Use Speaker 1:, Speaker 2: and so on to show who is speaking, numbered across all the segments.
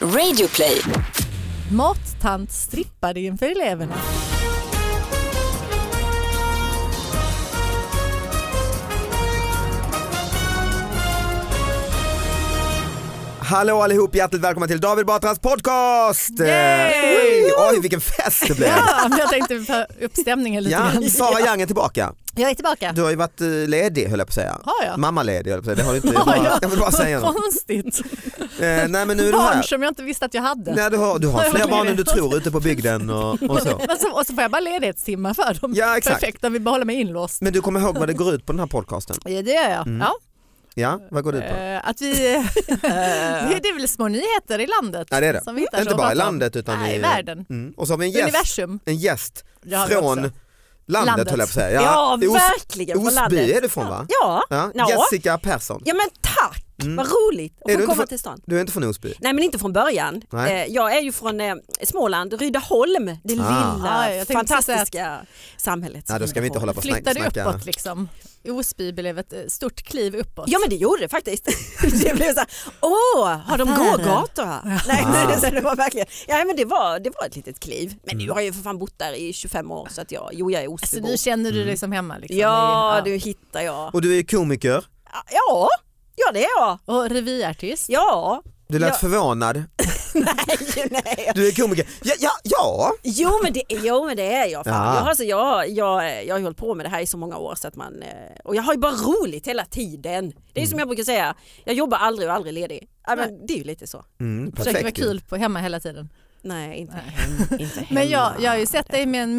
Speaker 1: Radioplay.
Speaker 2: Mattant strippade inför eleverna.
Speaker 3: Hallå allihop, hjärtligt välkomna till David Batras podcast! Oj, oj, vilken fest det blev!
Speaker 2: Ja, men jag tänkte ta upp stämningen lite
Speaker 3: Ja,
Speaker 2: grann.
Speaker 3: Sara Young är tillbaka.
Speaker 2: Jag är tillbaka.
Speaker 3: Du har ju varit eh, ledig höll jag på att säga.
Speaker 2: Har jag?
Speaker 3: Mammaledig höll jag på att säga. Det har du inte. Jag,
Speaker 2: Ja,
Speaker 3: bara,
Speaker 2: ja.
Speaker 3: jag vill bara säga
Speaker 2: Vad
Speaker 3: något.
Speaker 2: konstigt.
Speaker 3: Eh, nej men nu är du
Speaker 2: Barn
Speaker 3: här.
Speaker 2: som jag inte visste att jag hade.
Speaker 3: Nej, du har, du
Speaker 2: Har
Speaker 3: har
Speaker 2: jag
Speaker 3: fler
Speaker 2: varit
Speaker 3: barn än du
Speaker 2: ledig?
Speaker 3: tror ute på bygden och, och så.
Speaker 2: Men så, och så får jag bara ledighetstimmar för dem.
Speaker 3: Ja, exakt.
Speaker 2: Perfekt, jag vill behålla mig inlåst.
Speaker 3: Men du kommer ihåg vad det går ut på den här podcasten?
Speaker 2: Ja, det gör jag. Ja.
Speaker 3: Ja, vad går Mm. det ut på?
Speaker 2: Eh, Att vi, det är väl små nyheter i landet.
Speaker 3: Ja, det är det.
Speaker 2: Som vi hittar så
Speaker 3: Inte
Speaker 2: att
Speaker 3: bara i
Speaker 2: prata om.
Speaker 3: landet utan
Speaker 2: Nej,
Speaker 3: i
Speaker 2: världen.
Speaker 3: Mm. Och så har vi en gäst,
Speaker 2: Universum.
Speaker 3: en gäst
Speaker 2: Det har vi
Speaker 3: från
Speaker 2: också.
Speaker 3: landet,
Speaker 2: Landet.
Speaker 3: höll jag på att säga.
Speaker 4: Ja,
Speaker 3: det är Os-
Speaker 4: verkligen från landet.
Speaker 3: Osby är du från va?
Speaker 4: Ja,
Speaker 3: Ja.
Speaker 4: Ja.
Speaker 3: Jessica Persson.
Speaker 4: ja men tack, vad roligt att
Speaker 3: Är du
Speaker 4: få
Speaker 3: inte
Speaker 4: komma
Speaker 3: från-
Speaker 4: till stan.
Speaker 3: Du är inte från Osby?
Speaker 4: Nej men inte från början.
Speaker 3: Nej.
Speaker 4: Eh, Jag är ju från eh, Småland, Rydaholm, det
Speaker 3: Ah.
Speaker 2: Ah,
Speaker 4: lilla
Speaker 2: jag tänkte precis
Speaker 4: fantastiska samhället.
Speaker 3: Ja, då ska vi inte hålla på och
Speaker 2: Flyttade
Speaker 3: snack, snacka.
Speaker 2: uppåt liksom. Osby blev ett eh, stort kliv uppåt.
Speaker 4: Ja men det gjorde det faktiskt. det blev så här, åh, har de
Speaker 2: Affärer.
Speaker 4: gågator här? Nej,
Speaker 3: Ah.
Speaker 4: nej, så det var verkligen, ja men det var, det var ett litet kliv.
Speaker 3: Mm.
Speaker 4: Men nu har jag ju för fan bott där i 25 år så att jag, jo jag är
Speaker 2: Så
Speaker 4: Osbybo.
Speaker 2: nu känner Alltså,
Speaker 3: Mm.
Speaker 2: du dig som hemma? Liksom.
Speaker 4: Ja,
Speaker 2: Det är-
Speaker 4: nu hittar jag.
Speaker 3: Och du är komiker.
Speaker 4: Ja, ja det är jag.
Speaker 2: Och revyartist?
Speaker 4: Ja.
Speaker 3: Du lät
Speaker 4: Ja.
Speaker 3: förvånad.
Speaker 4: Nej, nej.
Speaker 3: Du är komiker. Ja, ja, ja.
Speaker 4: Jo men det, jo, men det är jag. Fan.
Speaker 3: Ja.
Speaker 4: Jag, har- alltså, jag, jag, jag har ju hållit på med det här i så många år så att man, eh, och jag har ju bara roligt hela tiden. Det är ju
Speaker 3: Mm.
Speaker 4: som jag brukar säga, jag jobbar aldrig och aldrig ledig. Ja, men det är ju lite så.
Speaker 3: Mm,
Speaker 2: Försöker vara
Speaker 3: perfekt.
Speaker 2: kul på hemma hela tiden.
Speaker 4: Nej, inte, hem, inte hemma.
Speaker 2: Men jag, jag har ju sett dig med en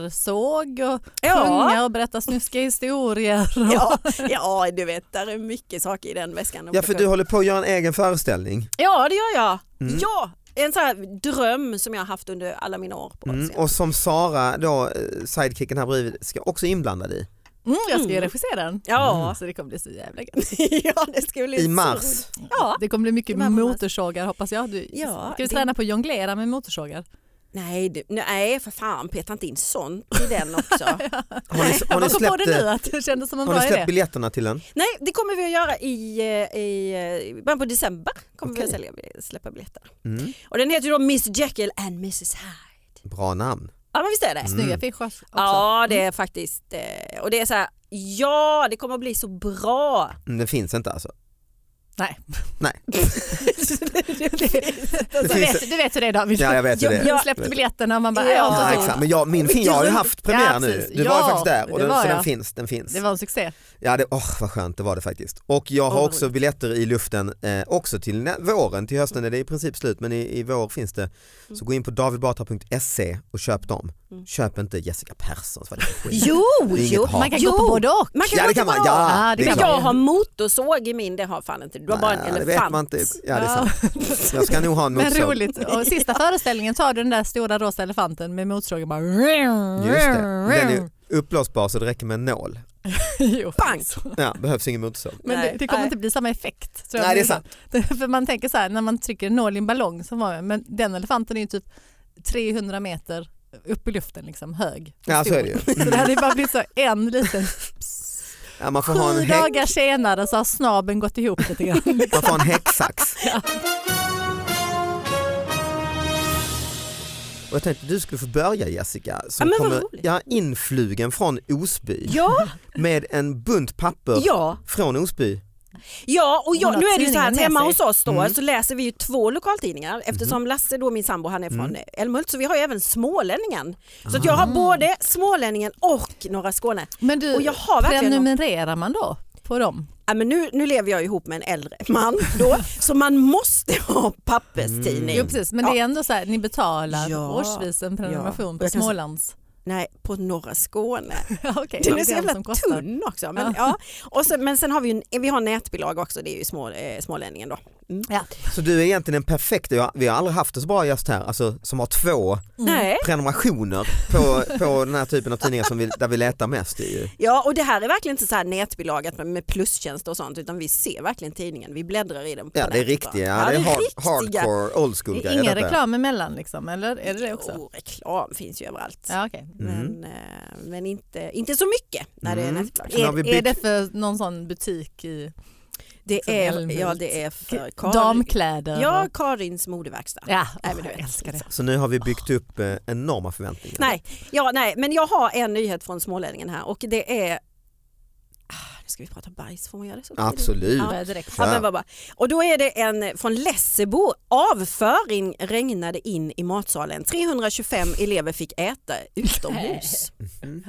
Speaker 2: motorsåg och
Speaker 4: Ja.
Speaker 2: sjunga och berätta snuskiga historier. Och...
Speaker 4: Ja, ja, du vet, där är mycket saker i den väskan.
Speaker 3: Ja, för du Mm. håller på att göra en egen föreställning.
Speaker 4: ja det gör jag. Ja, en sån här dröm som jag har haft under alla mina år på
Speaker 3: Mm,
Speaker 4: scen.
Speaker 3: och som Sara, då, eh, sidekicken här bredvid, ska också inblandad i.
Speaker 2: Mm, jag ska ju regissera den. Mm,
Speaker 4: Ja.
Speaker 2: Så det kommer bli så jävla gött.
Speaker 4: ja, det ska bli
Speaker 3: Mm. I
Speaker 4: så
Speaker 3: mars.
Speaker 4: roligt. Ja.
Speaker 2: Det kommer bli mycket
Speaker 4: Det var mammas.
Speaker 2: motorsågar hoppas jag. Du,
Speaker 4: Ja,
Speaker 2: ska vi
Speaker 4: det-
Speaker 2: träna på att jonglera med motorsågar?
Speaker 4: Nej, du, nej, för fan, peta inte in sånt i den också.
Speaker 3: Har ni, har ni
Speaker 2: Jag kom på
Speaker 3: släppt,
Speaker 2: det nu
Speaker 3: eh,
Speaker 2: att det kändes som en
Speaker 3: har ni
Speaker 2: bra
Speaker 3: släppt
Speaker 2: idé.
Speaker 3: biljetterna till den?
Speaker 4: Nej, det kommer vi att göra i, eh, i eh, början på december. Kommer vi att sälja, släppa biljetterna.
Speaker 3: Mm.
Speaker 4: Och den heter ju då Miss Jekyll and Mrs Hyde.
Speaker 3: Bra namn.
Speaker 4: Ja men visst är det?
Speaker 3: Mm.
Speaker 2: Snygga affischer också.
Speaker 4: Ja det är faktiskt, eh, och det är så här, ja det kommer att bli så bra.
Speaker 3: Mm, det finns inte alltså.
Speaker 2: Nej.
Speaker 3: Nej.
Speaker 2: Du,
Speaker 3: finns-
Speaker 2: vet, du vet hur det är David.
Speaker 3: Ja, jag vet hur det är.
Speaker 2: jag släppte biljetterna och man bara,
Speaker 4: Ja.
Speaker 2: ja.
Speaker 3: Ja,
Speaker 2: så-
Speaker 3: exakt. Men jag, min, fin- jag har ju haft premiär
Speaker 2: Ja,
Speaker 3: nu.
Speaker 2: precis.
Speaker 3: Du var ju
Speaker 2: Ja,
Speaker 3: faktiskt där och
Speaker 2: det
Speaker 3: den,
Speaker 2: var
Speaker 3: så den
Speaker 2: jag.
Speaker 3: finns. Den finns.
Speaker 2: Det var en succé.
Speaker 3: Ja, det, åh vad skönt det var det faktiskt. Och jag har
Speaker 4: Åh, vad
Speaker 3: också biljetter i luften eh, också till nä- våren, till hösten är det i princip slut men i, i vår finns det.
Speaker 4: Mm.
Speaker 3: Så gå in på davidbatra.se och köp dem. Köp inte Jessica Perssons, vad är det för skit?
Speaker 4: Jo,
Speaker 3: Det är inget
Speaker 4: jo,
Speaker 3: hat.
Speaker 2: Man kan
Speaker 4: Jo.
Speaker 2: gå på både och.
Speaker 4: Man kan
Speaker 3: Ja, det
Speaker 4: gå
Speaker 3: kan man.
Speaker 4: tillbaka. Ah,
Speaker 3: Ja,
Speaker 2: Ja, det
Speaker 3: det är
Speaker 2: kan
Speaker 4: Men
Speaker 2: klart.
Speaker 4: jag
Speaker 3: klart.
Speaker 4: har motorsåg i min, det har fan inte du. Du har bara en
Speaker 3: Nej, det
Speaker 4: elefant.
Speaker 3: vet man inte. Ja, det är sant. Jag ska nog ha en
Speaker 2: Men
Speaker 3: motorsåg.
Speaker 2: roligt. Och sista föreställningen tar du den där stora rosa elefanten med motorsågen bara...
Speaker 3: Just det, den är uppblåsbar så det räcker med en nål.
Speaker 2: Jo.
Speaker 4: Bang!
Speaker 3: Ja, behövs ingen motorsåg.
Speaker 2: Men det,
Speaker 4: Nej.
Speaker 2: det kommer
Speaker 4: Nej.
Speaker 2: inte bli samma effekt. Tror jag
Speaker 3: Nej, det är sant.
Speaker 2: För man tänker så här när man trycker en nål i en ballong som var men den elefanten är ju typ 300 meter upp i luften liksom hög.
Speaker 3: Ja, så är det ju.
Speaker 2: Så det hade ju bara blivit så en liten...
Speaker 3: Ja, man får ha
Speaker 2: Sju
Speaker 3: en, hä-
Speaker 2: dagar senare så har snaben gått ihop lite grann.
Speaker 3: man får ha en häcksax. Och jag tänkte du skulle få börja Jessica, som
Speaker 4: Ja, men vad
Speaker 3: kommer
Speaker 4: roligt.
Speaker 3: ja, influgen från Osby.
Speaker 4: Ja,
Speaker 3: med en bunt papper
Speaker 4: ja.
Speaker 3: från Osby.
Speaker 4: Ja, och
Speaker 2: Hon
Speaker 4: jag,
Speaker 2: har
Speaker 4: nu är det ju så här att
Speaker 2: tidningen med
Speaker 4: hemma
Speaker 2: sig. Mm.
Speaker 4: hos oss då, så läser vi ju två lokaltidningar eftersom Lasse då, min sambo, han är från mm. Älmhult så vi har ju även Smålänningen. Så att jag
Speaker 2: Ah.
Speaker 4: har både Smålänningen och Norra Skåne.
Speaker 2: Men du,
Speaker 4: Och jag har verkligen
Speaker 2: prenumererar man då på dem?
Speaker 4: Ja, men nu, nu lever jag ju ihop med en äldre man då, så man måste ha papperstidning.
Speaker 2: Jo precis, men det är ändå så här, ni betalar
Speaker 4: Ja.
Speaker 2: årsvis en prenumeration
Speaker 4: Ja.
Speaker 2: på
Speaker 4: Jag kan-
Speaker 2: Smålands.
Speaker 4: Nej, på Norra Skåne.
Speaker 2: Ja, okay.
Speaker 4: Den är så jävla tunn också. Men, ja. Och sen, men sen har vi ju en, vi har en nätbilag också, det är ju små, eh, Smålänningen då. Mm.
Speaker 2: Ja.
Speaker 3: Så du är egentligen en perfekt, jag- vi har aldrig haft en så bra gäst här, alltså, som har två
Speaker 2: Mm.
Speaker 4: Nej.
Speaker 3: prenumerationer på, på den här typen av tidningar som vi, där vi letar mest. i. ju.
Speaker 4: Ja, och det här är verkligen inte så här nätbilagat med, med plustjänst och sånt utan vi ser verkligen tidningen, vi bläddrar i den. På
Speaker 3: Ja det är
Speaker 4: nätet
Speaker 3: riktiga,
Speaker 4: bara.
Speaker 3: ja, det är hard,
Speaker 4: riktiga.
Speaker 3: hardcore old school
Speaker 2: Det
Speaker 3: grejer.
Speaker 2: är ingen
Speaker 3: detta.
Speaker 2: reklam emellan liksom, eller är det det också?
Speaker 4: Jo, reklam finns ju överallt.
Speaker 2: Ja, okay.
Speaker 3: Mm.
Speaker 4: Men, eh, men inte, inte så mycket när det är nätbilag.
Speaker 3: Nu har vi
Speaker 2: är, är
Speaker 3: bytt-
Speaker 2: det för någon sån butik i...
Speaker 4: Det
Speaker 2: Som
Speaker 4: är,
Speaker 2: Älmhult.
Speaker 4: ja, det är för Karin.
Speaker 2: Damkläder.
Speaker 4: Ja,
Speaker 2: och-
Speaker 4: Karins modeverkstad.
Speaker 2: ja.
Speaker 4: Nej, men du
Speaker 2: jag
Speaker 4: vet,
Speaker 2: älskar det.
Speaker 3: Så nu har vi byggt upp eh, enorma förväntningar.
Speaker 4: Nej, ja, nej, men jag har en nyhet från smålänningen här och det är... Ah, nu ska vi prata bajs, får man göra det? Så
Speaker 3: Absolut.
Speaker 4: Ja.
Speaker 2: Börjar direkt.
Speaker 4: Ja,
Speaker 3: Ja.
Speaker 4: men vad bra. Och då är det en från Lessebo. Avföring regnade in i matsalen. 325 elever fick äta utomhus. Mm,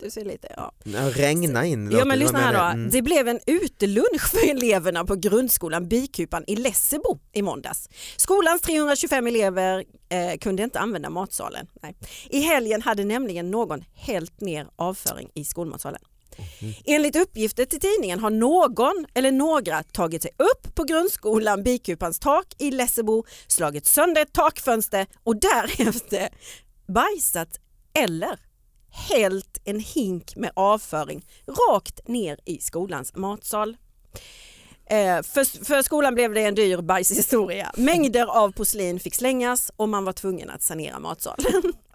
Speaker 4: Du ser lite, ja.
Speaker 3: Ja, Regna in.
Speaker 4: Ja,
Speaker 3: låter-
Speaker 4: men
Speaker 3: vad
Speaker 4: lyssna
Speaker 3: menar
Speaker 4: här då.
Speaker 3: jag? Mm.
Speaker 4: Det blev en utelunch för eleverna på grundskolan Bikupan i Lessebo i måndags. Skolans 325 elever eh, kunde inte använda matsalen. Nej. I helgen hade nämligen någon hällt ner avföring i skolmatsalen. Enligt uppgifter till tidningen har någon eller några tagit sig upp på grundskolan Bikupans tak i Lessebo, slagit sönder ett takfönster och därefter bajsat eller hällt en hink med avföring rakt ner i skolans matsal. Eh, för, för skolan blev det en dyr bajshistoria. Mängder av porslin fick slängas och man var tvungen att sanera matsalen.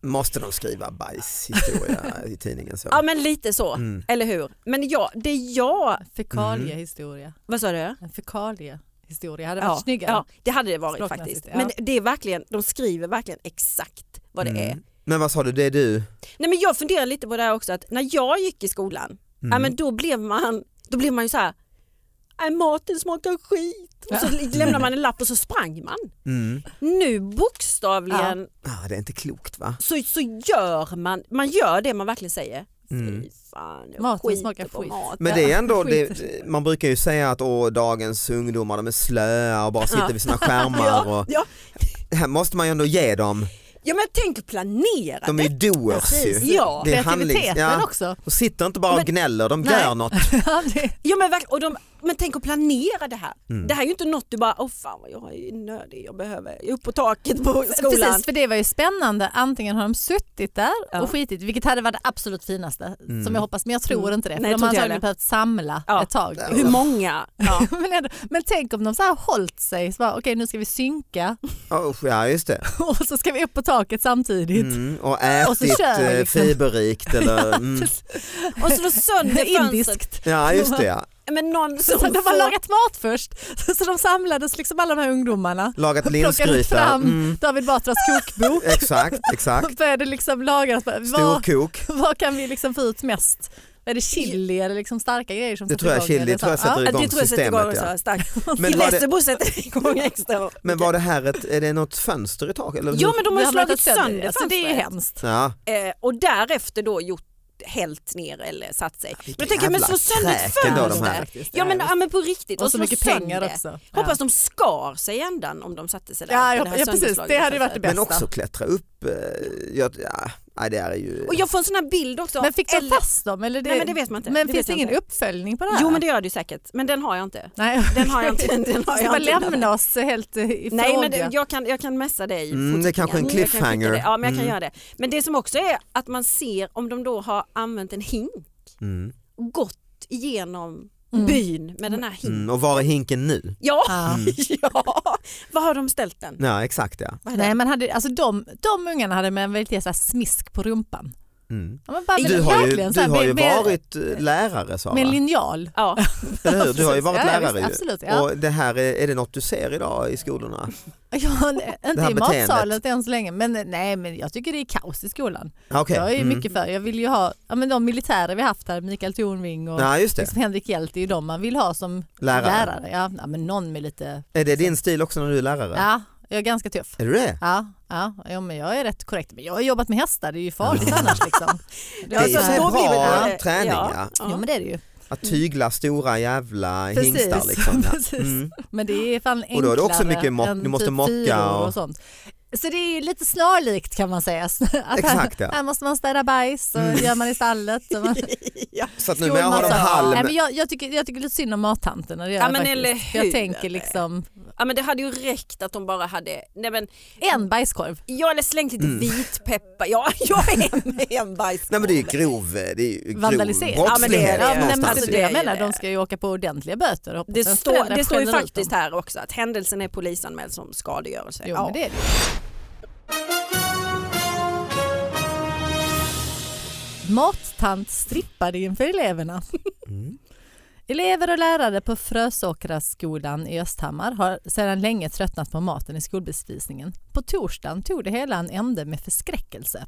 Speaker 3: Måste de skriva bajshistoria i tidningen så?
Speaker 4: ja men lite så,
Speaker 3: Mm.
Speaker 4: eller hur? Men ja, det jag...
Speaker 3: Mm.
Speaker 2: Fekaliehistoria.
Speaker 4: Vad sa du?
Speaker 2: En fekaliehistoria hade varit
Speaker 4: Ja,
Speaker 2: snyggare.
Speaker 4: ja, det hade det varit
Speaker 2: Språkmässigt,
Speaker 4: faktiskt.
Speaker 2: ja.
Speaker 4: Men det är verkligen, de skriver verkligen exakt vad det är. Mm.
Speaker 3: Mm. Men vad sa du, det är du?
Speaker 4: Nej men jag funderar lite på det här också att när jag gick i skolan,
Speaker 3: Mm.
Speaker 4: ja, men då blev man, då blev man ju så här. "Nej, maten smakar skit. Och så lämnade man en lapp och så sprang man.
Speaker 3: Mm.
Speaker 4: Nu bokstavligen
Speaker 3: Ah, det är inte klokt va?
Speaker 4: så, så gör man, man gör det man verkligen säger.
Speaker 3: Mm.
Speaker 4: Fy fan, jag
Speaker 2: Maten
Speaker 4: skiter
Speaker 2: smakar
Speaker 4: på
Speaker 2: skit.
Speaker 4: maten.
Speaker 3: Men det är ändå,
Speaker 2: skit.
Speaker 3: det, man brukar ju säga att åh, dagens ungdomar de är slöa och bara sitter vid sina skärmar.
Speaker 4: ja,
Speaker 3: Och,
Speaker 4: ja.
Speaker 3: här måste man ju ändå ge dem,
Speaker 4: ja men tänk planera.
Speaker 3: de är ju doers
Speaker 2: Precis.
Speaker 3: ju.
Speaker 4: Ja.
Speaker 3: Det är handlings-
Speaker 2: Kreativiteten
Speaker 3: ja.
Speaker 2: också.
Speaker 3: De sitter inte bara och
Speaker 4: Men-
Speaker 3: gnäller, de
Speaker 4: Nej.
Speaker 3: gör något.
Speaker 2: Ja, det-
Speaker 4: Ja, men, verkligen. och de, men tänk att planera det här.
Speaker 3: Mm.
Speaker 4: Det här är ju inte något du bara, åh fan vad jag är nödig, jag behöver, jag är upp på taket på skolan.
Speaker 2: Precis, för det var ju spännande. Antingen har de suttit där
Speaker 4: Ja.
Speaker 2: och skitit, vilket hade varit det absolut finaste som jag hoppas, men jag tror
Speaker 4: Mm.
Speaker 2: inte det. För
Speaker 4: Nej,
Speaker 2: de
Speaker 4: tror
Speaker 2: har
Speaker 4: inte jag
Speaker 2: antagligen
Speaker 4: heller.
Speaker 2: behövt samla
Speaker 4: Ja.
Speaker 2: ett tag.
Speaker 4: Hur många? Ja.
Speaker 2: Men, ändå, men tänk om de så här hållit sig, så bara, okej nu ska vi synka
Speaker 3: Usch, ja just det.
Speaker 2: och så ska vi upp på taket samtidigt.
Speaker 3: Mm, och
Speaker 2: Och så
Speaker 3: ätit
Speaker 2: kör vi
Speaker 3: eh,
Speaker 2: liksom.
Speaker 3: fiberrikt eller... Mm.
Speaker 4: Och slå sönder fönstret.
Speaker 2: Indiskt.
Speaker 3: Ja just det ja.
Speaker 4: Men någon som
Speaker 2: Så de
Speaker 4: får-
Speaker 2: har lagat mat först, så de samlades liksom alla de här ungdomarna.
Speaker 3: Lagat
Speaker 2: Plockade
Speaker 3: linsgryta.
Speaker 2: fram
Speaker 3: Mm,
Speaker 2: David Batras kokbok
Speaker 3: exakt, exakt.
Speaker 2: och började liksom laga. Vad,
Speaker 3: Storkok.
Speaker 2: vad kan vi liksom få ut mest? Är det chili eller liksom starka grejer som
Speaker 3: Det
Speaker 2: sätter
Speaker 3: tror jag
Speaker 2: igång
Speaker 3: chili,
Speaker 2: eller så?
Speaker 3: tror jag sätter
Speaker 4: Ja,
Speaker 3: igång
Speaker 4: det tror jag sätter igång
Speaker 3: systemet.
Speaker 4: så
Speaker 3: Ja.
Speaker 4: här starkt. I
Speaker 3: Men, var det,
Speaker 4: Lessebo sätter det igång extra.
Speaker 3: men var det här ett, är det något fönster i taket? Eller
Speaker 4: Jo men de har ju
Speaker 2: har
Speaker 4: slagit
Speaker 2: slagit
Speaker 4: sönder
Speaker 2: Alltså, det är
Speaker 4: fönstret.
Speaker 2: hemskt.
Speaker 3: Ja,
Speaker 4: Eh, och därefter då gjort hällt ner eller satt sig. Men
Speaker 3: vilken
Speaker 4: jag tänker, men
Speaker 3: jävla
Speaker 4: slå sönder ett
Speaker 3: kräk ändå de här.
Speaker 4: fönster. Ja men, ja men på riktigt.
Speaker 2: och så
Speaker 4: slå
Speaker 2: mycket
Speaker 4: sönder.
Speaker 2: pengar också.
Speaker 4: Hoppas de skar sig i ändan om de satte sig där.
Speaker 2: Ja,
Speaker 4: på
Speaker 2: ja,
Speaker 4: det här
Speaker 2: ja precis,
Speaker 4: sönderslagna
Speaker 2: det hade ju varit det
Speaker 4: fönstret.
Speaker 2: bästa.
Speaker 3: men också klättra upp. eh, Ja, ja, nej, det här är ju...
Speaker 4: Och jag får en sån här bild också.
Speaker 2: men fick de
Speaker 4: Eller-
Speaker 2: fast dem? Eller det,
Speaker 4: Nej, men det vet man inte.
Speaker 2: Men
Speaker 4: Det
Speaker 2: finns
Speaker 4: vet
Speaker 2: det
Speaker 4: jag
Speaker 2: ingen
Speaker 4: inte.
Speaker 2: uppföljning på det här?
Speaker 4: Jo men det gör du säkert, men den har jag inte.
Speaker 2: Nej.
Speaker 4: Den har jag inte. Den har
Speaker 2: Ska
Speaker 4: jag
Speaker 2: bara
Speaker 4: inte.
Speaker 2: lämna oss helt eh, i
Speaker 4: Nej
Speaker 2: fråga.
Speaker 4: men det, jag, kan, jag kan messa dig.
Speaker 3: Mm, det är kanske en
Speaker 4: Jag kan skicka
Speaker 3: cliffhanger.
Speaker 4: det. Ja men jag kan
Speaker 3: Mm.
Speaker 4: göra det. Men det som också är att man ser om de då har använt en hink,
Speaker 3: Mm.
Speaker 4: gått igenom
Speaker 2: Mm. Ah.
Speaker 4: byn med den här hinken.
Speaker 3: Mm. Och var är hinken nu?
Speaker 4: Ja,
Speaker 2: Ja.
Speaker 4: ja. Vad har de ställt den?
Speaker 3: Ja, exakt ja.
Speaker 4: Vad är det?
Speaker 2: Nej men hade, alltså de, de ungarna hade med en väldigt så här smisk på rumpan.
Speaker 3: Mm.
Speaker 2: Ja, men bara,
Speaker 3: Du
Speaker 2: men
Speaker 3: har ju,
Speaker 2: verkligen så
Speaker 3: du
Speaker 2: här,
Speaker 3: har ju
Speaker 2: med- med-
Speaker 3: varit eh, lärare
Speaker 2: Med en
Speaker 3: Sara,
Speaker 2: linjal.
Speaker 4: Ja.
Speaker 3: eller hur? Du har ju
Speaker 2: Precis,
Speaker 3: varit
Speaker 2: ja,
Speaker 3: lärare
Speaker 2: visst,
Speaker 3: ju.
Speaker 2: Absolut, ja.
Speaker 3: Och det här, är, är det något du ser idag i skolorna?
Speaker 2: ja, nej,
Speaker 3: det
Speaker 2: inte
Speaker 3: här
Speaker 2: i
Speaker 3: beteendet.
Speaker 2: matsalen inte än så länge men eh, nej men jag tycker det är kaos i skolan.
Speaker 3: Ah, okej.
Speaker 2: Jag är ju
Speaker 3: Mm.
Speaker 2: mycket för, jag vill ju ha, ja men de militärer vi haft här, Mikael Tornving och
Speaker 3: Ja, just det.
Speaker 2: liksom Henrik Hjelt är ju de man vill ha som
Speaker 3: Lärare.
Speaker 2: lärare. Ja, ja men någon med lite,
Speaker 3: Är det din stil också när du är lärare?
Speaker 2: ja jag är ganska tuff.
Speaker 3: Är du det?
Speaker 2: Ja, ja, ja, men jag är rätt korrekt. Men jag har jobbat med hästar, det är ju farligt annars liksom.
Speaker 3: Det är i och för sig
Speaker 4: då blir
Speaker 3: bra
Speaker 4: det-
Speaker 3: träning
Speaker 4: ja.
Speaker 3: ja.
Speaker 2: Ja men det är det ju.
Speaker 3: Att tygla stora jävla
Speaker 2: Precis,
Speaker 3: hingstar liksom. Ja.
Speaker 2: precis.
Speaker 3: Mm.
Speaker 2: Men det är fan enklare
Speaker 3: Och då är det också mycket mock-
Speaker 2: än
Speaker 3: du måste
Speaker 2: typ
Speaker 3: mocka
Speaker 2: fyror
Speaker 3: och-
Speaker 2: och sånt. Så det är ju lite snarlikt kan man säga. Att
Speaker 3: Exakt,
Speaker 2: här,
Speaker 3: ja. Mm.
Speaker 2: här måste man städa bajs och gör man i stallet. Och man,
Speaker 3: Så att numera har de
Speaker 2: skolmatsal. Nej,
Speaker 3: halm.
Speaker 2: men jag, jag, tycker, jag tycker lite synd om mattanterna. Det gör
Speaker 4: Ja,
Speaker 2: jag
Speaker 4: men
Speaker 2: faktiskt.
Speaker 4: eller
Speaker 2: För Jag
Speaker 4: hur?
Speaker 2: tänker liksom
Speaker 4: ja men det hade ju räckt att de bara hade, nej men,
Speaker 2: en bajskorv.
Speaker 4: jag hade slängt lite vitpeppar, ja jag är med en bajs.
Speaker 3: Mm. Nej men det är ju grov, det är ju grov
Speaker 2: Vandalisering.
Speaker 3: brottslighet
Speaker 4: Ja, men det är det.
Speaker 2: Ja, men, nej, men
Speaker 3: någonstans.
Speaker 2: alltså,
Speaker 4: det
Speaker 2: det jag
Speaker 4: är
Speaker 2: menar,
Speaker 4: det.
Speaker 2: de ska ju åka på ordentliga böter. och hoppas
Speaker 4: Det
Speaker 2: att
Speaker 4: står,
Speaker 2: föräldrar
Speaker 4: det står ju
Speaker 2: skäller ut
Speaker 4: faktiskt
Speaker 2: dem.
Speaker 4: här också att händelsen är polisanmäld som skadegörelse.
Speaker 2: Jo,
Speaker 4: Ja.
Speaker 2: men det är det. ju. Mattant strippade inför eleverna. Elever och lärare på Frösåkraskolan i Östhammar har sedan länge tröttnat på maten i skolbespisningen. På torsdagen tog det hela en ände med förskräckelse.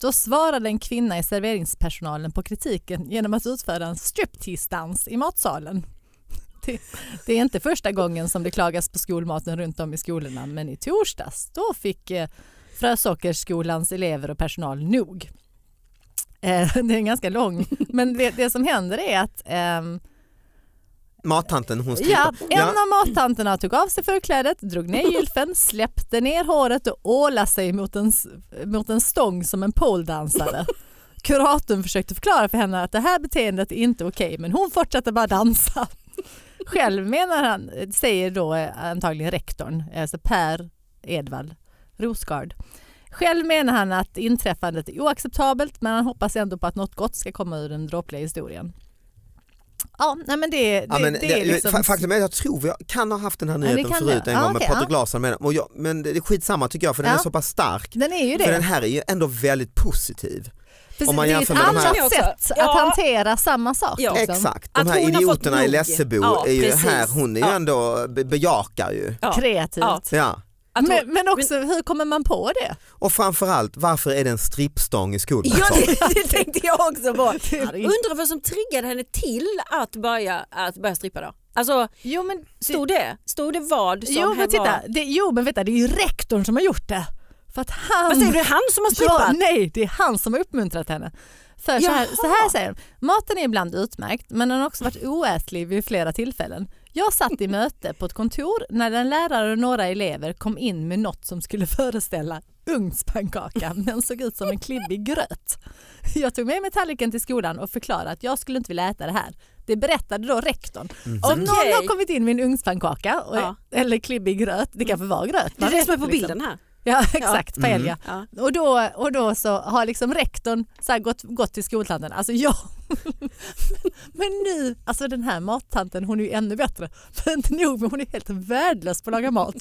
Speaker 2: Då svarade en kvinna i serveringspersonalen på kritiken genom att utföra en striptease-dans i matsalen. Det, det är inte första gången som det klagas på skolmaten runt om i skolorna, men i torsdags då fick eh, Frösåkersskolans elever och personal nog. Eh, Det är ganska lång, men det, det som händer är att ehm,
Speaker 3: Mattanten hon
Speaker 2: Ja,
Speaker 3: stripar.
Speaker 2: en av mattanterna tog av sig förklädet, drog ner gylfen, släppte ner håret och ålade sig mot en, s- mot en stång som en poledansare. Kuratorn försökte förklara för henne att det här beteendet är inte okej men hon fortsatte bara dansa. Själv menar han, säger då eh, antagligen rektorn, alltså Per Edvard Rosgard. Själv menar han att inträffandet är oacceptabelt men han hoppas ändå på att något gott ska komma ur den dråpliga historien. Ja, nej men det, det,
Speaker 3: Ja, men,
Speaker 2: det är liksom...
Speaker 3: fa- Faktum är att jag tror vi kan ha haft den här
Speaker 2: det
Speaker 3: nyheten
Speaker 2: kan
Speaker 3: förut
Speaker 2: det.
Speaker 3: en
Speaker 2: Ja,
Speaker 3: gång med
Speaker 2: okej,
Speaker 3: Patrik
Speaker 2: ja.
Speaker 3: Larsson med den. Och jag, men det är skitsamma tycker jag för den
Speaker 2: Ja.
Speaker 3: är så pass stark.
Speaker 2: Den är ju
Speaker 3: För
Speaker 2: det.
Speaker 3: den här är ju ändå väldigt positiv.
Speaker 2: Precis,
Speaker 3: om man
Speaker 2: det är
Speaker 3: jämför
Speaker 2: ett
Speaker 3: med de här-
Speaker 2: annat sätt
Speaker 4: Ja.
Speaker 2: att hantera samma sak.
Speaker 4: Ja.
Speaker 2: liksom.
Speaker 3: Exakt,
Speaker 4: Att
Speaker 3: de här
Speaker 4: hon har fått
Speaker 3: idioterna i
Speaker 4: nog.
Speaker 3: Lessebo
Speaker 4: Ja,
Speaker 3: är ju
Speaker 4: precis.
Speaker 3: här, hon är ju
Speaker 4: Ja.
Speaker 3: ändå, be- bejakar ju.
Speaker 4: Ja.
Speaker 2: Kreativt.
Speaker 4: Ja.
Speaker 3: Ja.
Speaker 4: Att hon-
Speaker 2: Men, men också hur kommer man på det?
Speaker 3: Och framförallt, varför är det en strippstång i skolan?
Speaker 4: Ja, det, det tänkte jag också på.
Speaker 2: är-
Speaker 4: Undrar vad som triggade henne till att börja, att börja strippa då? Alltså,
Speaker 2: Jo men,
Speaker 4: stod det, stod det vad som
Speaker 2: jo,
Speaker 4: här
Speaker 2: men titta,
Speaker 4: var?
Speaker 2: det, jo men vänta det är ju rektorn som har gjort det. För att han...
Speaker 4: Vad säger du, han som har
Speaker 2: Ja,
Speaker 4: strippat?
Speaker 2: nej, det är han som har uppmuntrat henne. För så här,
Speaker 4: Jaha.
Speaker 2: så här säger de, maten är ibland utmärkt men den har också varit oätlig vid flera tillfällen. Jag satt i möte på ett kontor när en lärare och några elever kom in med något som skulle föreställa ugnspannkaka men såg ut som en klibbig gröt. Jag tog med mig tallriken till skolan och förklarade att jag skulle inte vilja äta det här. Det berättade då rektorn. Så om någon
Speaker 4: Okej.
Speaker 2: har kommit in med en ugnspannkaka och,
Speaker 4: Ja.
Speaker 2: eller klibbig gröt, det kanske var gröt.
Speaker 4: Det är
Speaker 2: man
Speaker 4: det
Speaker 2: vet
Speaker 4: som är på
Speaker 2: liksom.
Speaker 4: bilden här.
Speaker 2: Ja exakt, paella.
Speaker 4: Ja.
Speaker 2: Och då, och då så har liksom rektorn så här gått, gått till skoltanten, alltså jag, men nu, alltså den här mattanten hon är ju ännu bättre. För inte nog men hon är helt värdelös på att laga mat.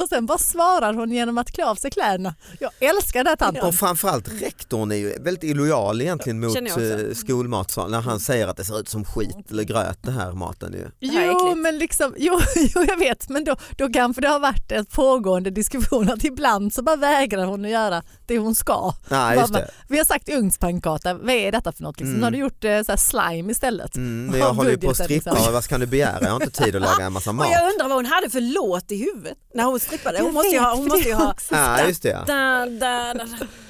Speaker 2: Och sen bara svarar hon genom att klä av sig kläderna. Jag älskar den här tanten.
Speaker 3: Och framförallt rektorn är ju väldigt illojal egentligen mot
Speaker 4: Känner jag också. Mm.
Speaker 3: eh, skolmatsalen när han säger att det ser ut som skit eller gröt det här maten. Ju.
Speaker 4: Det här är
Speaker 2: Jo,
Speaker 4: äckligt.
Speaker 2: men liksom, jo, jo, jag vet, men då, då kanske det har varit en pågående diskussion att ibland så bara vägrar hon att göra det hon ska.
Speaker 3: Ja, just
Speaker 2: Bara,
Speaker 3: det.
Speaker 2: Vi har sagt ugnspannkaka, vad är detta för något? Liksom? Nu har
Speaker 4: Mm.
Speaker 2: du gjort eh, så här slime istället.
Speaker 3: Mm, men jag
Speaker 2: Av
Speaker 3: håller ju på att
Speaker 2: budgeten,
Speaker 3: strippa,
Speaker 2: liksom.
Speaker 3: vad ska du begära? Jag har inte tid att laga en massa
Speaker 4: Och
Speaker 3: mat.
Speaker 4: jag undrar vad hon hade för låt i huvudet när hon strippade.
Speaker 2: Jag
Speaker 4: Hon måste ju
Speaker 2: vet,
Speaker 4: ha... Hon
Speaker 2: för
Speaker 4: måste ju
Speaker 2: det
Speaker 4: ha
Speaker 3: Ja, just det. ja.
Speaker 4: da, da, da,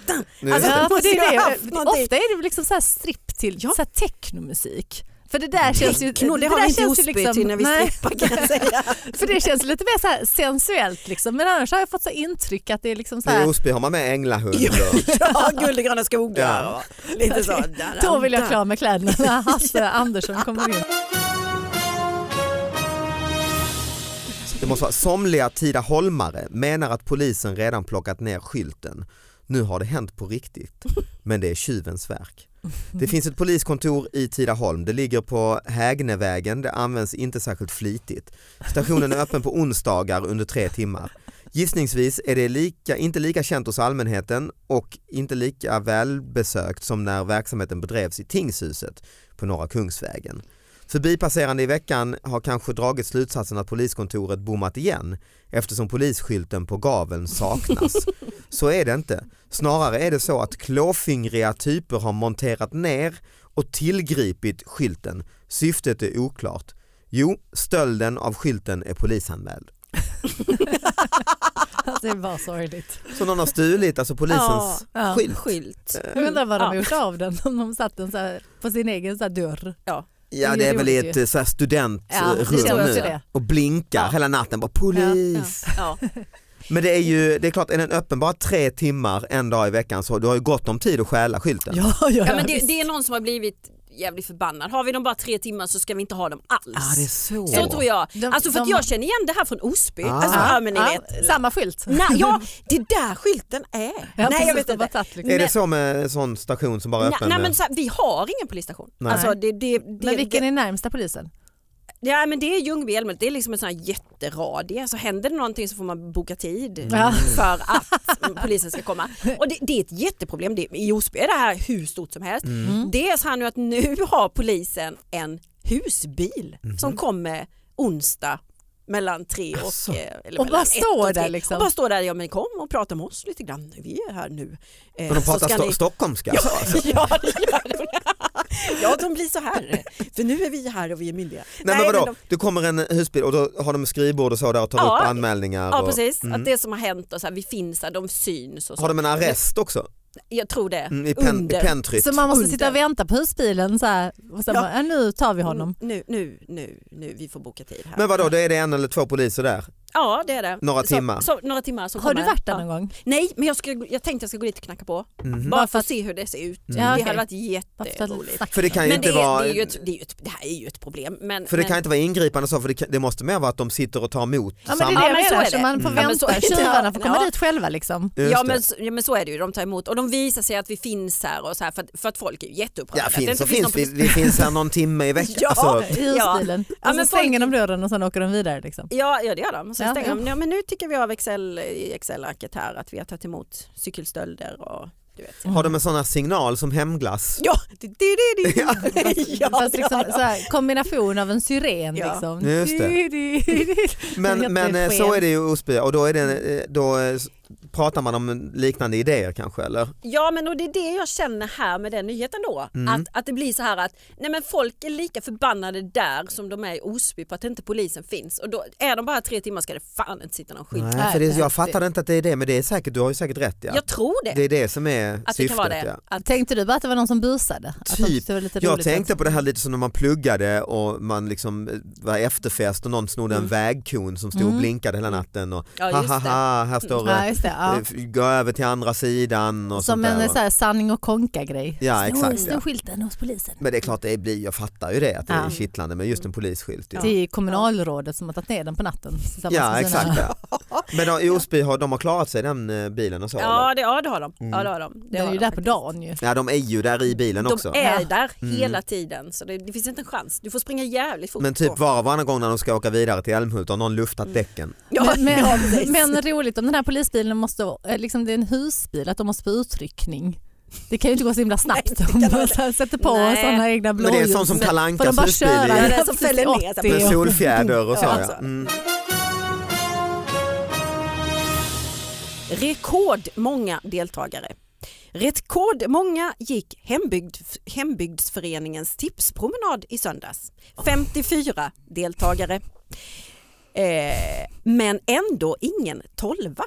Speaker 4: da.
Speaker 3: Nu-
Speaker 4: alltså,
Speaker 2: Ja, för
Speaker 4: måste
Speaker 2: det
Speaker 4: jag ha
Speaker 2: är
Speaker 4: haft
Speaker 2: det.
Speaker 4: någonting.
Speaker 2: Ofta är det liksom så här stripp till
Speaker 4: Ja.
Speaker 2: så här technomusik. För det där känns ju...
Speaker 4: Knorr, det har
Speaker 2: där
Speaker 4: vi inte
Speaker 2: känns ju liksom-
Speaker 4: Osby till när vi
Speaker 2: nej,
Speaker 4: strippar kan jag säga.
Speaker 2: För det känns lite mer så här sensuellt liksom. Men annars har jag fått så intryck att det är liksom så
Speaker 3: Nu I
Speaker 2: här...
Speaker 3: Osby har man med änglahund. och-
Speaker 4: Ja, guld och gröna skogar
Speaker 3: Ja.
Speaker 4: och lite så. Da, da,
Speaker 2: Då vill jag
Speaker 4: da.
Speaker 2: klä av mig kläderna när Hasse Andersson kommer in.
Speaker 3: Det måste vara, somliga Tidaholmare menar att polisen redan plockat ner skylten. Nu har det hänt på riktigt, men det är tjuvens verk. Det finns ett poliskontor i Tidaholm. Det ligger på Hägnevägen. Det används inte särskilt flitigt. Stationen är öppen på onsdagar under tre timmar. Gissningsvis är det lika, inte lika känt hos allmänheten och inte lika välbesökt som när verksamheten bedrevs i Tingshuset på Norra Kungsvägen. Förbipasserande i veckan har kanske dragit slutsatsen att poliskontoret bommat igen eftersom polisskylten på gaveln saknas. Så är det inte. Snarare är det så att klåfingriga typer har monterat ner och tillgripit skylten. Syftet är oklart. Jo, stölden av skylten är polisanmäld.
Speaker 2: Alltså, det var sorgligt.
Speaker 3: Så någon har stulit alltså polisens
Speaker 2: Ja,
Speaker 3: skylt.
Speaker 4: Skylt.
Speaker 2: Jag undrar vad de har
Speaker 4: Ja.
Speaker 2: gjort av den. Om de satt den så här på sin egen så här dörr.
Speaker 3: Ja det är väl i ett eh, så här
Speaker 2: Ja, det
Speaker 3: studentrum
Speaker 2: tror jag också
Speaker 3: nu
Speaker 2: det.
Speaker 3: och blinkar
Speaker 4: Ja.
Speaker 3: hela natten bara polis.
Speaker 4: Ja.
Speaker 3: Men det är ju, det är klart, är den öppen bara tre timmar en dag i veckan så du har ju gott om tid att stjäla skylten.
Speaker 2: Ja, ja,
Speaker 4: Ja, men det, det är någon som har blivit jävligt förbannad. Har vi dem bara tre timmar så ska vi inte ha dem alls.
Speaker 3: Ja, det är så.
Speaker 4: Så tror jag.
Speaker 2: De-
Speaker 4: alltså för att
Speaker 2: de-
Speaker 4: jag känner igen det här från Osby.
Speaker 3: Ah.
Speaker 4: Alltså, ja, men ni
Speaker 2: Ja,
Speaker 4: vet.
Speaker 2: Samma skylt.
Speaker 4: Nej, ja, det där skylten är. nej, jag
Speaker 2: precis,
Speaker 4: vet
Speaker 2: de har
Speaker 4: inte.
Speaker 2: tagit, liksom.
Speaker 3: Är det så med en sån station som bara är
Speaker 4: Nej,
Speaker 3: öppen?
Speaker 4: nej,
Speaker 3: med-
Speaker 4: men så här, vi har ingen polisstation.
Speaker 3: Nej.
Speaker 4: Alltså, det, det, det,
Speaker 2: Men vilken är närmsta polisen?
Speaker 4: det, ja, men det är Ljungby Älmhult. Det är liksom en sån här jätteradie. Så händer det någonting så får man boka tid
Speaker 2: Ja. Mm.
Speaker 4: för att polisen ska komma. Och det, det är ett jätteproblem.
Speaker 3: Mm.
Speaker 2: Mm.
Speaker 4: Det, I Osby är det här hur stort som helst. Det är så här nu att nu har polisen en husbil
Speaker 3: Mhm.
Speaker 4: som kommer onsdag mellan tre och...
Speaker 3: Asså.
Speaker 4: eh, Eller
Speaker 2: Och
Speaker 4: mellan
Speaker 2: bara
Speaker 4: ett
Speaker 2: står
Speaker 4: och tre.
Speaker 2: där liksom.
Speaker 4: Och bara står där, ja men kom och prata med oss lite grann, vi är här nu. Eh,
Speaker 3: Och de
Speaker 4: så
Speaker 3: pratar
Speaker 4: ska
Speaker 3: sto-
Speaker 4: ni-
Speaker 3: stockholmska.
Speaker 4: Ja, det gör de. ja, de blir så här. För nu är vi här och vi är myndiga.
Speaker 3: Nej, men vadå,
Speaker 4: de-
Speaker 3: det kommer en husbil och då har de skrivbord och så där och tar
Speaker 4: Ja.
Speaker 3: upp anmälningar.
Speaker 4: Ja
Speaker 3: och,
Speaker 4: precis,
Speaker 3: Mm.
Speaker 4: att det som har hänt och så här, vi finns här, de syns och så.
Speaker 3: Har de en arrest också?
Speaker 4: Jag tror det.
Speaker 3: Mm, I, pen, i
Speaker 4: Under.
Speaker 3: pentryck?
Speaker 2: Så man måste
Speaker 4: Under.
Speaker 2: sitta och vänta på husbilen så här, och sen
Speaker 4: Ja.
Speaker 2: bara, ja. nu tar vi honom.
Speaker 4: Mm, Nu, nu, nu, nu, vi får boka tid här.
Speaker 3: Men vadå, då är det en eller två poliser där?
Speaker 4: Ja det är det.
Speaker 3: Några
Speaker 4: så,
Speaker 3: timmar.
Speaker 4: Så, några timmar som
Speaker 2: Har du
Speaker 4: kommer.
Speaker 2: varit där
Speaker 4: ja.
Speaker 2: någon gång?
Speaker 4: Nej, men jag, ska, jag tänkte jag ska gå dit och knacka på.
Speaker 3: Mhm.
Speaker 4: Bara
Speaker 2: Bara
Speaker 4: för
Speaker 2: för
Speaker 4: att se hur det ser ut.
Speaker 3: Mm.
Speaker 4: Det
Speaker 2: Ja, okej.
Speaker 4: hade varit
Speaker 2: Bara för att
Speaker 4: jätteroligt.
Speaker 2: snacka.
Speaker 3: För det kan ju
Speaker 4: Men det,
Speaker 3: inte
Speaker 4: är-
Speaker 3: vara...
Speaker 4: det, är ju ett, det, är ju ett, det här är ju ett problem. Men,
Speaker 3: För det
Speaker 4: men,
Speaker 3: kan inte vara ingripande så, för det, kan, det måste mer vara att de sitter och tar emot
Speaker 2: Ja men det
Speaker 3: samma...
Speaker 2: är det
Speaker 4: Ja, men
Speaker 2: jag
Speaker 4: så
Speaker 2: menar,
Speaker 4: är
Speaker 2: så
Speaker 4: det.
Speaker 2: man får
Speaker 3: Mm.
Speaker 4: Ja, men
Speaker 2: vänta.
Speaker 4: så är det.
Speaker 2: Tjuvarna får komma
Speaker 4: Ja.
Speaker 2: dit själva liksom.
Speaker 3: Just
Speaker 4: Ja
Speaker 3: det.
Speaker 4: men, så- ja men så är det ju, de tar emot och de visar sig att vi finns här och så här för att, för att folk är ju jätteupprörda.
Speaker 3: ja,
Speaker 4: Att det
Speaker 3: finns
Speaker 4: inte
Speaker 3: och finns,
Speaker 4: någon
Speaker 3: vi, vi finns här någon timme i veckan.
Speaker 4: Ja.
Speaker 3: Alltså,
Speaker 2: I husbilen.
Speaker 4: Ja,
Speaker 2: Och
Speaker 4: men
Speaker 2: så
Speaker 4: folk-
Speaker 2: stänger de dörren och sen åker de vidare liksom.
Speaker 4: Ja, ja det gör de. Och Sen
Speaker 2: Ja,
Speaker 4: stänger
Speaker 2: ja.
Speaker 4: de. Ja, men nu tycker vi av Excel, i Excel-arket här att vi har tagit emot cykelstölder och du vet.
Speaker 3: har de en sån här signal som hemglass?
Speaker 4: Ja, det det det det. Ja,
Speaker 2: Fast
Speaker 4: det
Speaker 2: liksom,
Speaker 4: har de.
Speaker 2: så här, kombination av en syren
Speaker 4: Ja.
Speaker 2: liksom.
Speaker 3: Just det. Men,
Speaker 2: heter
Speaker 3: men eh, så
Speaker 2: sken.
Speaker 3: är det ju i Osby och då, är det, eh, då eh, s- pratar man om liknande idéer kanske eller?
Speaker 4: ja, men och det är det jag känner här med den nyheten då.
Speaker 3: Mm.
Speaker 4: Att, att det blir så här att nej, men folk är lika förbannade där som de är i Osby på att inte polisen finns. Och då är de bara tre timmar ska det fan inte sitta någon skylt.
Speaker 3: Nej,
Speaker 2: Nej,
Speaker 3: för det,
Speaker 2: det-
Speaker 3: jag fattade inte att det är det men det är säkert, du har ju säkert rätt ja.
Speaker 4: Jag tror det.
Speaker 3: Det är det som är
Speaker 4: att det kan
Speaker 3: syftet.
Speaker 4: vara det.
Speaker 3: Ja.
Speaker 4: Att,
Speaker 2: Tänkte du bara att det var någon som busade? Att de
Speaker 3: Typ.
Speaker 2: tyckte det var lite
Speaker 3: Jag
Speaker 2: roligt alltså.
Speaker 3: tänkte på det här lite som när man pluggade och man liksom eh, var efterfest och någon snodde en vägkon som stod och
Speaker 2: Mm.
Speaker 3: blinkade hela natten och
Speaker 4: ja,
Speaker 3: ha
Speaker 4: just
Speaker 3: ha
Speaker 4: det.
Speaker 3: ha här står det.
Speaker 2: Ja, just det, Mm. ja.
Speaker 3: Eh, f- Gå över till andra sidan och
Speaker 2: Som
Speaker 3: sånt där.
Speaker 2: en
Speaker 3: va?
Speaker 2: så här, sanning och konka grej.
Speaker 3: Ja, exakt,
Speaker 2: Snor
Speaker 3: ja.
Speaker 2: skylten hos polisen.
Speaker 3: Men det är klart, det blir, jag fattar ju det att det är
Speaker 2: Ja.
Speaker 3: kittlande men just en polisskylt. Ja,
Speaker 2: Det är kommunalrådet som har tagit ner den på natten. tillsammans
Speaker 3: ja
Speaker 2: med sina-
Speaker 3: exakt. Ja. Men då, i Osby har de har klarat sig den eh, bilen och så? Mm.
Speaker 4: Ja
Speaker 3: eller?
Speaker 4: det, ja, det har de. Ja, det har de.
Speaker 2: Den är
Speaker 4: har
Speaker 2: ju
Speaker 4: de
Speaker 2: där på
Speaker 4: faktiskt.
Speaker 2: dagen ju.
Speaker 3: ja de är ju där i bilen
Speaker 4: De
Speaker 3: också. Mm.
Speaker 4: är
Speaker 2: Ja.
Speaker 4: där hela tiden så det, det finns inte en chans. Du får springa jävligt fort.
Speaker 3: Men
Speaker 4: på.
Speaker 3: typ var och varannan gång när de ska åka vidare till Älmhult har någon
Speaker 4: Mm.
Speaker 3: luftat däcken.
Speaker 4: ja,
Speaker 2: men, men,
Speaker 4: ja, precis.
Speaker 2: men roligt om den här polisbilen måste, eh, liksom det är en husbil, att de måste få utryckning. Det kan ju inte gå så himla snabbt om
Speaker 4: kan
Speaker 2: man
Speaker 4: det.
Speaker 2: så här sätter på
Speaker 4: Nej.
Speaker 2: sådana egna
Speaker 3: Men
Speaker 2: blåljus.
Speaker 3: det är en sån som
Speaker 2: Får
Speaker 3: Kalle
Speaker 2: de
Speaker 3: Ankas
Speaker 2: bara
Speaker 3: husbil
Speaker 2: köra
Speaker 3: i,
Speaker 4: Ja, den som fäller ner sig.
Speaker 2: precis
Speaker 3: med
Speaker 2: 80.
Speaker 3: solfjäder och så.
Speaker 4: Ja, alltså.
Speaker 3: Ja,
Speaker 4: så.
Speaker 3: Mm.
Speaker 4: Rekordmånga deltagare. Rekordmånga gick hembygd, Hembygdsföreningens tipspromenad i söndags.
Speaker 3: Oh.
Speaker 4: 54 deltagare. Eh, men ändå ingen tolva.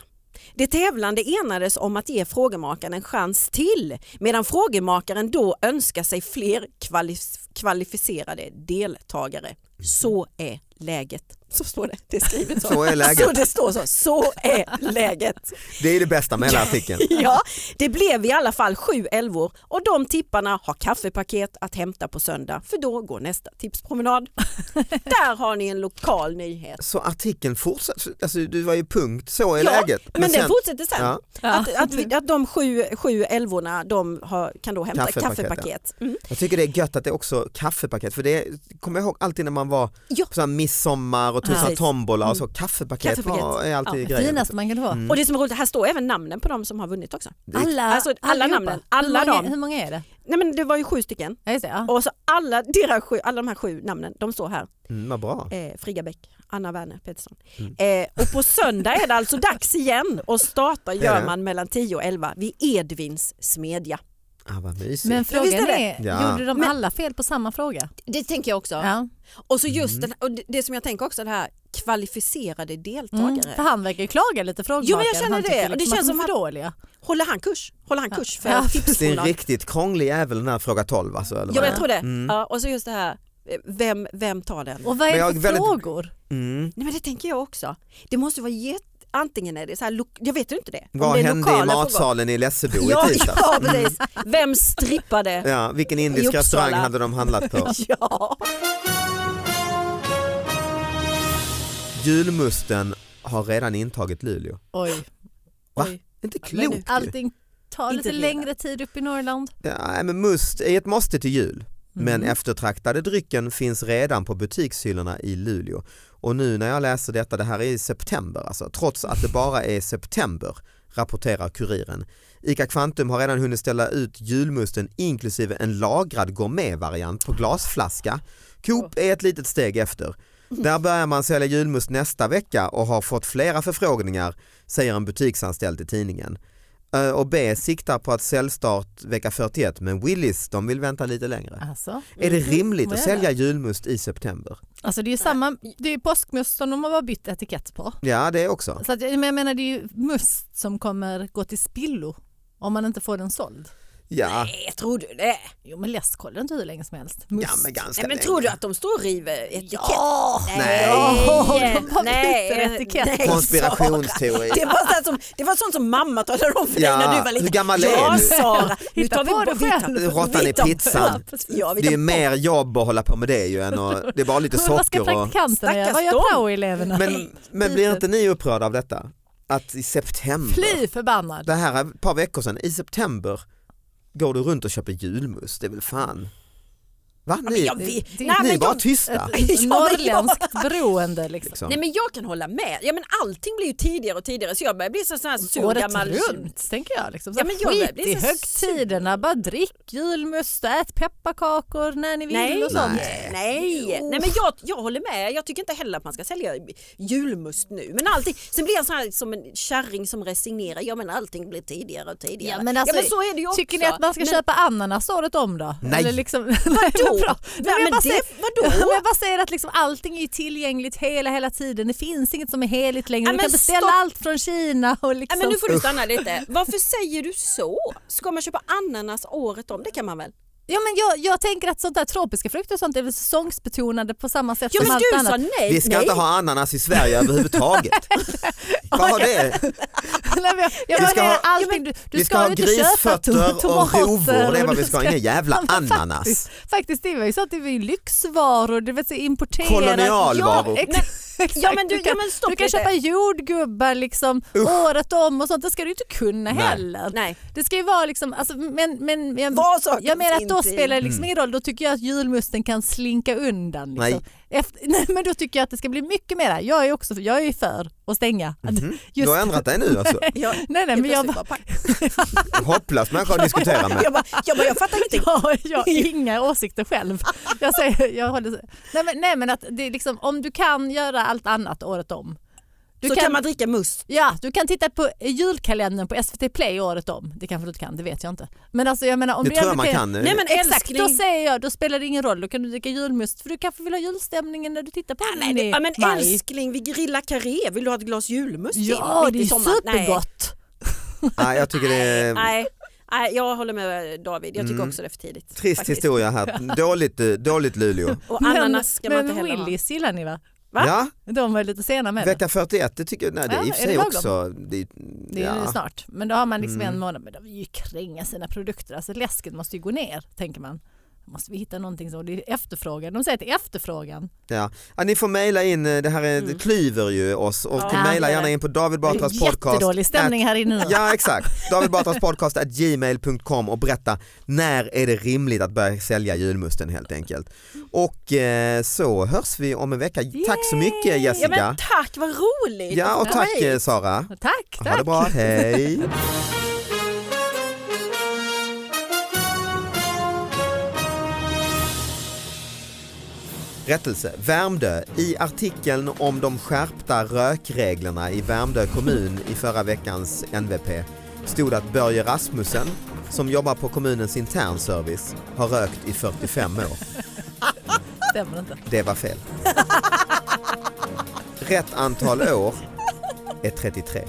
Speaker 4: Det tävlande enades om att ge frågemakaren en chans till medan frågemakaren då önskar sig fler kvalif- kvalificerade deltagare. Så är läget. Så står det. Det är skrivet så.
Speaker 3: Så är läget.
Speaker 4: Så det står så. Så är läget.
Speaker 3: Det är det bästa med hela artikeln.
Speaker 4: Ja, det blev i alla fall sju älvor och de tipparna har kaffepaket att hämta på söndag för då går nästa tipspromenad. Där har ni en lokal nyhet.
Speaker 3: Så artikeln fortsätter, alltså, du var ju punkt, så är
Speaker 4: Ja,
Speaker 3: läget.
Speaker 4: Men, den fortsätter sen.
Speaker 3: Ja.
Speaker 4: Att, att, vi, att de sju, sju älvorna de har, kan då hämta
Speaker 3: Kaffepaket,
Speaker 4: kaffepaket.
Speaker 3: ja.
Speaker 4: Mm.
Speaker 3: Jag tycker det är gött att det är också kaffepaket, för det kommer jag ihåg alltid när man var
Speaker 4: Ja.
Speaker 3: på så här midsommar och tusan
Speaker 4: Precis. Mm.
Speaker 3: tombola och så, kaffepaket,
Speaker 4: Kaffepaket.
Speaker 3: Var, är alltid
Speaker 2: Det
Speaker 3: grejen.
Speaker 2: finaste man kan få.
Speaker 3: Mm.
Speaker 4: Och det som är roligt, här står även namnen på de som har vunnit också.
Speaker 2: Alla,
Speaker 4: Alltså, alla
Speaker 2: allihopa.
Speaker 4: namnen, alla
Speaker 2: hur, många,
Speaker 4: dem.
Speaker 2: hur många är det?
Speaker 4: Nej men det var ju sju stycken.
Speaker 2: Ja, just det, ja.
Speaker 4: Och så alla, deras sju, alla de här sju namnen, de står här.
Speaker 3: Mm, vad bra.
Speaker 4: eh, Friggabäck, Anna Werner Pettersson.
Speaker 3: Mm.
Speaker 4: Eh, och på söndag är det alltså dags igen och starta
Speaker 3: är
Speaker 4: gör
Speaker 3: det.
Speaker 4: man mellan 10 och 11 vid Edvins smedja.
Speaker 3: Ah, vad mysigt.
Speaker 2: Men
Speaker 4: visst är
Speaker 2: frågan
Speaker 4: det.
Speaker 2: är,
Speaker 3: Ja.
Speaker 2: gjorde de
Speaker 4: Men-
Speaker 2: alla fel på samma fråga?
Speaker 4: Det tänker jag också.
Speaker 2: Ja. Mm.
Speaker 4: Och så just
Speaker 3: Mm.
Speaker 4: den, och det- det som jag tänker också, det här kvalificerade deltagare.
Speaker 2: Mm. För han verkar ju klaga lite frågemakaren.
Speaker 4: Jo, men jag känner
Speaker 2: han
Speaker 4: det.
Speaker 2: tycker
Speaker 4: Och det
Speaker 2: liksom
Speaker 4: känns
Speaker 2: att de är
Speaker 4: som
Speaker 2: för dåliga.
Speaker 4: Håller han kurs? Håller han kurs för
Speaker 2: Ja,
Speaker 4: ja,
Speaker 3: det är en riktigt krånglig jävel den här fråga 12 alltså, eller vad
Speaker 4: Ja, men
Speaker 3: det
Speaker 4: jag
Speaker 3: är.
Speaker 4: tror det.
Speaker 3: Mm.
Speaker 4: Ja, och så just det här, eh, vem, vem tar den?
Speaker 2: Och vad
Speaker 3: Men
Speaker 2: är
Speaker 3: jag
Speaker 2: det
Speaker 3: är
Speaker 2: för
Speaker 3: väldigt-
Speaker 2: frågor?
Speaker 3: Mm.
Speaker 4: Nej men det tänker jag också. Det måste vara jätte... Antingen är det så här, lo- jag vet ju inte det. Om
Speaker 3: Vad
Speaker 4: det är
Speaker 3: hände i
Speaker 4: lokala frågor.
Speaker 3: matsalen i Lessebo
Speaker 4: Ja,
Speaker 3: i tisdags? Mm.
Speaker 4: ja precis. Vem strippade?
Speaker 3: Ja, vilken
Speaker 4: I
Speaker 3: indisk
Speaker 4: Uppsala.
Speaker 3: restaurang hade de handlat på?
Speaker 4: Ja.
Speaker 3: Julmusten har redan intagit Luleå.
Speaker 2: Oj.
Speaker 3: Va?
Speaker 4: Oj.
Speaker 3: Inte
Speaker 4: nu-
Speaker 3: klokt ju.
Speaker 2: Allting tar
Speaker 4: Inte
Speaker 2: lite
Speaker 4: redan.
Speaker 2: längre tid upp i Norrland.
Speaker 3: Ja, nej, men must är ett måste till jul. Men eftertraktade drycken finns redan på butikshyllorna i Luleå. Och nu när jag läser detta, det här är i september alltså, trots att det bara är september, rapporterar Kuriren. ICA Kvantum har redan hunnit ställa ut julmusten inklusive en lagrad gourmetvariant på glasflaska, Coop är ett litet steg efter. Där börjar man sälja julmust nästa vecka och har fått flera förfrågningar, säger en butiksanställd till tidningen. Ö och B siktar på att säljstart vecka 41 men Willys de vill vänta lite längre.
Speaker 2: Alltså,
Speaker 3: Är
Speaker 4: Mm,
Speaker 3: det rimligt
Speaker 2: Vad
Speaker 3: att
Speaker 2: är
Speaker 3: sälja julmust i september?
Speaker 2: alltså det är ju samma, det är ju påskmust som de har bara bytt etikett på.
Speaker 3: Ja det är också.
Speaker 2: Så att, men jag menar det är ju must som kommer gå till spillo om man inte får den såld.
Speaker 3: Ja,
Speaker 4: Nej, Eh, tror du det?
Speaker 2: Jo men läsk håller inte hur länge som helst. Must.
Speaker 3: ja men ganska
Speaker 4: Nej, men
Speaker 3: länge.
Speaker 4: tror du att de står och river etikett?
Speaker 2: Ja!
Speaker 3: Nej.
Speaker 2: Åh, de bara byter
Speaker 4: nej,
Speaker 2: etikett.
Speaker 4: nej,
Speaker 3: Konspirationsteori.
Speaker 4: Sara. Det var, sånt som, det var sånt som mamma talade om för dig
Speaker 3: Ja,
Speaker 4: när du var liten.
Speaker 3: hur gammal är
Speaker 4: ja,
Speaker 3: du?
Speaker 4: Sara, nu
Speaker 2: Hitta
Speaker 4: tar vi
Speaker 2: på
Speaker 4: bort
Speaker 2: det
Speaker 4: vi tar-
Speaker 2: själv.
Speaker 3: Råttan
Speaker 4: vi
Speaker 3: i
Speaker 4: tar-
Speaker 3: pizzan.
Speaker 4: Ja, vi
Speaker 3: Det
Speaker 4: tar
Speaker 3: är mer jobb att hålla på med det ju än att, det är bara lite
Speaker 2: Vad ska
Speaker 3: socker och...
Speaker 2: praktikanterna göra? Vad gör
Speaker 4: Stackars dem.
Speaker 2: prao-eleverna?
Speaker 3: Men, men blir inte ni upprörda av detta? Att i september,
Speaker 2: Fly förbannad.
Speaker 3: det här är ett par veckor sedan, i september går du runt och köper julmust, det är väl fan. Va? Ni,
Speaker 4: jag vet-
Speaker 2: det-
Speaker 4: nej,
Speaker 3: ni är
Speaker 4: men
Speaker 3: bara
Speaker 4: jag,
Speaker 3: tysta.
Speaker 4: men
Speaker 2: Norrländskt beroende liksom.
Speaker 3: Liksom.
Speaker 4: nej men jag kan hålla med. Ja, men allting blir ju tidigare och tidigare så jag börjar bli så sån här sur
Speaker 2: Året
Speaker 4: gammal
Speaker 2: runt tänker jag. Liksom. Så
Speaker 4: Ja, men jag
Speaker 2: skit
Speaker 4: blir
Speaker 2: i
Speaker 4: så
Speaker 2: högtiderna, bara drick julmust, ät pepparkakor när ni vill
Speaker 4: Nej,
Speaker 2: och sånt.
Speaker 4: nej, nej.
Speaker 2: Jo.
Speaker 4: nej men jag, jag håller med. Jag tycker inte heller att man ska sälja julmust nu. Men allting, sen blir jag så här som en kärring som resignerar. Ja men allting blir tidigare och tidigare.
Speaker 2: Ja, men alltså,
Speaker 4: så är det ju också.
Speaker 2: Tycker ni att man ska
Speaker 4: Men
Speaker 2: köpa ananas året om då?
Speaker 3: Nej.
Speaker 2: Eller liksom, nej, vad bra.
Speaker 4: Nej,
Speaker 2: jag
Speaker 4: men
Speaker 2: bara
Speaker 4: det-
Speaker 2: säger-
Speaker 4: vadå?
Speaker 2: Men jag bara säger att liksom allting är ju tillgängligt hela hela tiden. Det finns inget som är heligt längre.
Speaker 4: Ja,
Speaker 2: du
Speaker 4: men
Speaker 2: kan beställa
Speaker 4: stopp.
Speaker 2: allt från Kina. Och liksom.
Speaker 4: Nej, men nu får du stanna lite. Varför säger du så? Ska man köpa ananas året om? Det kan man väl?
Speaker 2: ja, men jag, jag tänker att sånt där tropiska frukter och sånt är väl säsongsbetonade på samma sätt
Speaker 4: Ja
Speaker 2: som
Speaker 4: men
Speaker 2: allt
Speaker 4: du
Speaker 2: annat.
Speaker 4: sa nej.
Speaker 3: Vi ska
Speaker 4: nej.
Speaker 3: inte ha ananas i Sverige överhuvudtaget. Vad har det?
Speaker 2: Nej, men jag- jag
Speaker 3: Vi ska
Speaker 2: menar
Speaker 3: ha-
Speaker 2: allting. Du, du
Speaker 3: Vi ska ha
Speaker 2: ju inte köpa
Speaker 3: grisfötter
Speaker 2: to-
Speaker 3: och
Speaker 2: tomater
Speaker 3: rovor, det är
Speaker 2: och
Speaker 3: vad vi
Speaker 2: du
Speaker 3: ska ha, inga jävla
Speaker 2: Ja, men
Speaker 3: ananas.
Speaker 2: Faktiskt, faktiskt det var ju så att det var ju lyxvaror, det var så importerat.
Speaker 3: Kolonialvaror.
Speaker 2: Ja, ex- exakt.
Speaker 4: Ja, men du-
Speaker 2: kan,
Speaker 4: ja, men stopp
Speaker 2: du kan
Speaker 4: lite.
Speaker 2: köpa jordgubbar liksom, året om och sånt, det ska du ju inte kunna
Speaker 3: Nej.
Speaker 2: heller.
Speaker 4: Nej.
Speaker 2: Det ska ju vara liksom, alltså, men, men jag,
Speaker 4: Var saker
Speaker 2: jag menar att då
Speaker 4: inte i.
Speaker 2: spelar det
Speaker 3: Mm.
Speaker 2: liksom ingen roll, då tycker jag att julmusten kan slinka undan. Liksom.
Speaker 3: Nej.
Speaker 2: Efter, nej men då tycker jag att det ska bli mycket mer. Jag är också jag är ju för att stänga. Att
Speaker 3: Mm, Du
Speaker 2: just-
Speaker 3: har ändrat dig nu alltså.
Speaker 4: Jag-
Speaker 2: nej, nej, men jag,
Speaker 4: plötsligt
Speaker 2: bara-
Speaker 4: bara,
Speaker 3: Hopplös människa att diskutera med.
Speaker 4: jag, bara, jag, bara, jag fattar ingenting.
Speaker 2: jag, jag har inga åsikter själv. Jag säger, jag håller, nej, men, nej men att det är liksom, om du kan göra allt annat året om. Du
Speaker 4: så kan man dricka must.
Speaker 2: Ja, du kan titta på julkalendern på SVT Play året om. Det kanske du inte kan, det vet jag inte. Men alltså jag menar om
Speaker 3: Det
Speaker 2: du
Speaker 3: tror jag
Speaker 2: ändå
Speaker 3: man kan.
Speaker 4: Nej men
Speaker 2: Exakt,
Speaker 4: älskling.
Speaker 2: då säger jag, då spelar det ingen roll, då kan du dricka julmust för du kanske vill ha julstämningen när du tittar på den
Speaker 4: Nej, det,
Speaker 2: i
Speaker 4: ja, men
Speaker 2: maj.
Speaker 4: älskling, vi grillar karré. Vill du ha ett glas julmust till?
Speaker 2: Ja,
Speaker 4: mitt
Speaker 2: det
Speaker 4: i
Speaker 2: är ju
Speaker 4: sommaren?
Speaker 2: supergott.
Speaker 3: Nej, jag tycker det
Speaker 4: Nej,
Speaker 3: är
Speaker 4: nej, nej, jag håller med David. Jag tycker också det är för tidigt.
Speaker 3: Mm. trist
Speaker 4: faktiskt.
Speaker 3: historia här. Dåligt, eh, dåligt Luleå.
Speaker 4: Och ananas ska man
Speaker 2: men
Speaker 4: inte heller ha.
Speaker 2: Willys gillar ni va?
Speaker 4: Va?
Speaker 3: Ja,
Speaker 2: De var lite sena med det.
Speaker 3: vecka 41, det tycker jag, nej, det är i
Speaker 2: Ja,
Speaker 3: och
Speaker 2: är
Speaker 3: för
Speaker 2: det
Speaker 3: sig
Speaker 2: lagom?
Speaker 3: också. Det,
Speaker 2: Det är ju
Speaker 3: ja. Mm.
Speaker 2: snart. Men då har man liksom en månad. Men de vill ju kränga sina produkter. Alltså läsket måste ju gå ner, tänker man. Måste vi hitta någonting som, det är efterfrågan. De säger att det är efterfrågan.
Speaker 3: Ja. Ja, ni får mejla in, eh, det här är, det klyver ju oss och
Speaker 4: Ja,
Speaker 3: mejla
Speaker 4: det är
Speaker 3: gärna
Speaker 4: det.
Speaker 3: in på David Batras podcast.
Speaker 2: Jättedålig stämning här inne nu.
Speaker 3: Ja exakt, David Batras podcast at gmail.com och berätta när är det rimligt att börja sälja julmusten helt enkelt. Och eh, så hörs vi om en vecka. Tack så mycket
Speaker 4: Ja,
Speaker 3: Jessica.
Speaker 4: men tack, vad roligt.
Speaker 3: Ja och tack eh, Sara.
Speaker 2: Tack,
Speaker 3: Ha det
Speaker 2: tack.
Speaker 3: bra, hej. Rättelse, Värmdö. I artikeln om de skärpta rökreglerna i Värmdö kommun i förra veckans NVP stod att Börje Rasmussen, som jobbar på kommunens internservice, har rökt i 45 år.
Speaker 2: Stämmer inte.
Speaker 3: Det var fel. Rätt antal år är 33.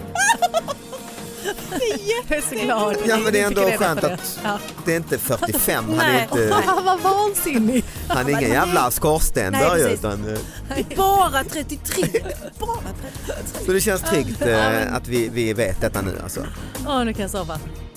Speaker 2: Jag är så glad.
Speaker 3: Ja, men det är ändå
Speaker 2: Tycker är
Speaker 3: skönt
Speaker 2: därför
Speaker 3: att-
Speaker 2: det. Ja.
Speaker 3: Det är inte 45, han är,
Speaker 4: Nej.
Speaker 3: inte,
Speaker 2: Vad vansinnig.
Speaker 3: han är ingen jävla skorsten
Speaker 4: Nej,
Speaker 3: Börje.
Speaker 4: precis.
Speaker 3: Utan, eh,
Speaker 4: Bara 33. Bara 33.
Speaker 3: så det känns tryggt eh, att vi, vi vet detta nu alltså.
Speaker 2: Åh, nu kan jag sova.